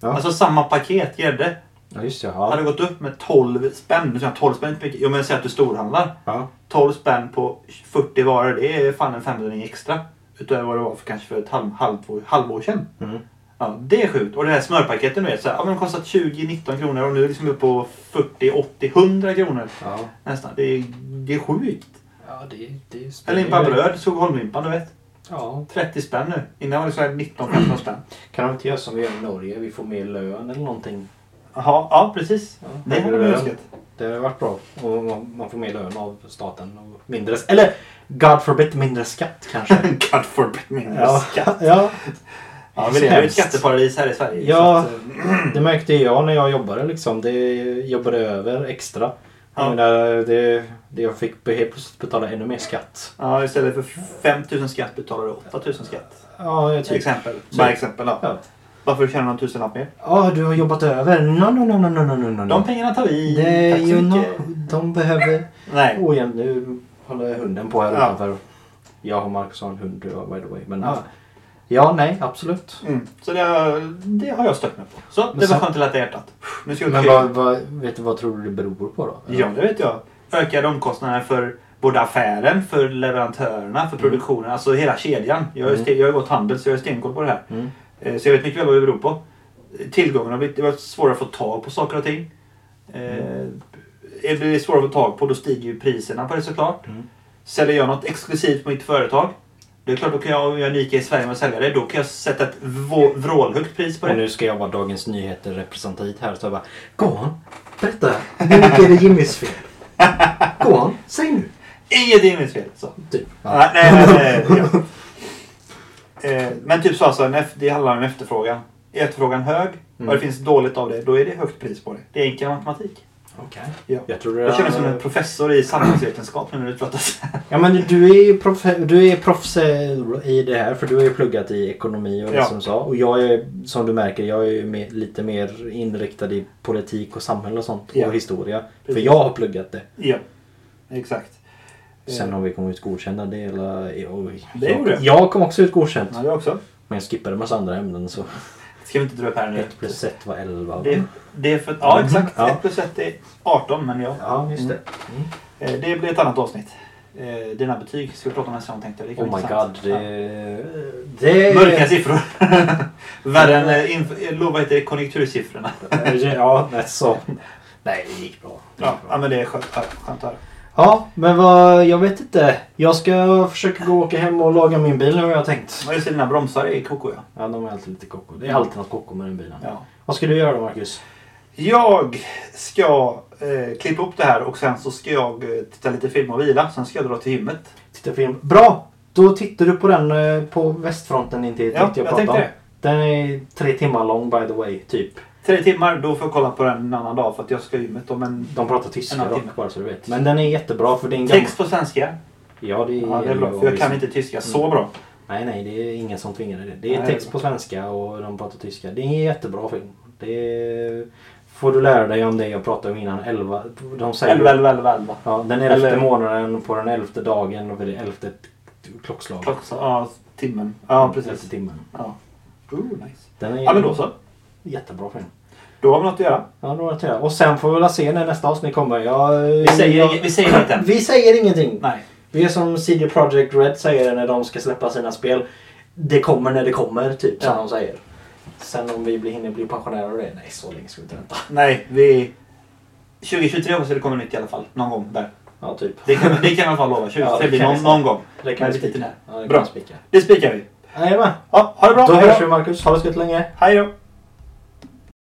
Ja. Alltså samma paket grädde. Ja, just det. Hade Ja. gått upp med 12 spänn. Nu säger jag 12 spänn är inte mycket. Jo men säg att du storhandlar. Ja. 12 spänn på 40 varor. Det är fan en femhundring extra. Utöver vad det var för kanske för ett halv, halvår, halvår sedan. Mm. Ja, det är sjukt. Och det här smörpaketet du vet. Så här, ja, men det kostat 20-19 kronor och nu är det liksom uppe på 40-80-100 kronor. Ja. Nästan. Det är, det är sjukt. ja, det, det är En limpa bröd, Skogaholmlimpan du vet. Ja. 30 spänn nu. Innan var det så här 19-15 spänn. Kan de inte göra som vi gör i Norge? Vi får mer lön eller någonting. Jaha, ja precis. Ja, det hade högre man lön. önskat. <laughs> Det har varit bra. Och man man får mer lön av staten. Och mindre, eller God forbid mindre skatt kanske. <laughs> God forbid mindre skatt. ja. Ja, vi lever i ett Hemskt. skatteparadis här i Sverige. Ja, så att, eh, det märkte jag när jag jobbade liksom. Det jobbade över extra. Ja. Jag menar, det, det jag fick be- helt plötsligt betala ännu mer skatt. ja, istället för 5 000 skatt betalar du 8 000 skatt. Ja, Till typ. exempel. Så- Bara exempel då. Ja, Mm. Varför tjänar någon tusenlapp mer? Ja, du har jobbat över. No, no, no, no, no, no, no, no. De pengarna tar vi. Det, Tack så you know, mycket. de behöver... Nej. Oj, nu håller hunden på här Ja. utanför. Jag och Marcus har en hund, by the way. Men, Ja. ja. ja, nej, absolut. Mm. Så det, har- det har jag stött mig på. Så, det Men var sen- skönt att lätta hjärtat. Nu ska vi Men till- vad, vad, vet du vad tror du det beror på då? Ja, det vet jag. Ökade omkostnader för både affären, för leverantörerna, för produktionen. Alltså hela kedjan. Jag har ju Mm. ste- jag har ju gått handel så jag har stenkoll på det här. Mm. Eh, Så jag vet mycket väl vad det beror på. Eh, Tillgången har blivit det har varit svårare att få tag på saker och ting. Mm. Blir det svårare att få tag på då stiger ju priserna på det såklart. Mm. Säljer jag något exklusivt på mitt företag då Det är klart, då kan jag, om jag är unik i Sverige med att sälja det, då kan jag sätta ett vå- vrålhögt pris på Och det. nu ska jag vara Dagens Nyheter representant här. Så jag bara, gå on, berätta. Hur mycket är det <laughs> Jimmys fel? Gå on, säg nu. Inget är mitt fel. Så. Typ. Ja. Nej, nej, nej, nej, <laughs> ja. Eh, Men typ så alltså, en eff- det handlar om efterfrågan. Är efterfrågan hög och Mm. det finns dåligt av det, då är det högt pris på det. Det är enkel matematik. Okej. Ja. Jag tror Jag känner mig som en det professor i samhällsvetenskap nu när du pratar så här. Ja men du är ju proff, du är proffs eh, i det här för du har ju pluggat i ekonomi och det Ja. som du sa. Och jag är som du märker, jag är ju mer, lite mer inriktad i politik och samhälle och sånt. Ja. Och historia. För Precis. jag har pluggat det. Ja, exakt. Eh, Sen har vi kommit ut godkända det hela... Oj. Det gjorde jag, jag. jag kom också ut godkänt. Ja, det också. Men jag skippade en massa andra ämnen så Ska vi inte dra upp här nu? 1 plus 1 var 11. Det, det är för, ja, exakt. Ja. 1 plus 1 är 18, men ja. Ja, just det. Mm. Eh, Det blir ett annat avsnitt. Eh, Dina betyg ska vi prata om nästa gång tänkte jag. Det kan Oh vara my god. intressant. Det... Mm. Ja. det... Mörka siffror. <laughs> Värre än eh, inf- eh, lo- vad heter det, konjunktursiffrorna. Ja, nej, så. <laughs> Nej, det gick bra. Det Ja, gick ja, bra. men det är skönt att höra. Skönt att höra. Ja, men vad... Jag vet inte. Jag ska försöka gå och åka hem och laga min bil nu har jag tänkt. Ja, just det, dina bromsar är koko ja. Ja, de är alltid lite koko. Det är alltid något koko med den bilen. ja. Vad ska du göra då, Marcus? Jag ska eh, klippa upp det här och sen så ska jag eh, titta lite film och vila. Sen ska jag dra till gymmet. Titta film. Bra! Då tittar du på den eh, på västfronten inte Ja, jag tänkte det. Den är tre timmar lång by the way, typ. Tre timmar, då får jag kolla på den en annan dag för att jag ska till gymmet om en... De pratar tyska En annan dock timme. bara så du vet. Men den är jättebra för det är en gammal... Text på svenska. Ja, det är, Mm. Ja, det är bra. För jag kan inte tyska så bra. Nej, nej, det är ingen som tvingar dig det. Det är Nej, det är text bra. på svenska och de pratar tyska. Det är en jättebra film. Det är... får du lära dig om det jag pratade om innan. Elva, de säger... 11, 11, 11, 11. Ja, den elfte Eller- månaden på den elfte dagen och vid det elfte t- klockslaget. Klockan, ja, timmen. Ja, Elfte precis. timmen. Ja. Ooh, nice. Den är Ja, men då så. jättebra film. Då har vi något att göra. Ja, då har jag till det. Och sen får vi väl se när nästa avsnitt kommer. Jag, Vi säger, jag, inget- vi säger inte än. vi säger ingenting. Nej. Vi är som CD Projekt Red säger när de ska släppa sina spel. Det kommer när det kommer, typ, som Ja. de säger. Sen om vi blir, hinner bli pensionärer och det, nej så länge ska vi inte vänta. Nej, vi... 2023 hoppas jag det kommer nytt i alla fall. Någon gång där. Ja, typ. Det kan, det kan jag i alla fall lova. 2023 Ja, det blir kan vi någon, säga. någon gång. Det Men kan vi lite spika. där. Ja, det kan Bra. vi spika. Det spikar vi. Jajamän. Ja, ha det bra. Då Hej hörs vi då. Marcus. Ha det så gött länge. Hej då.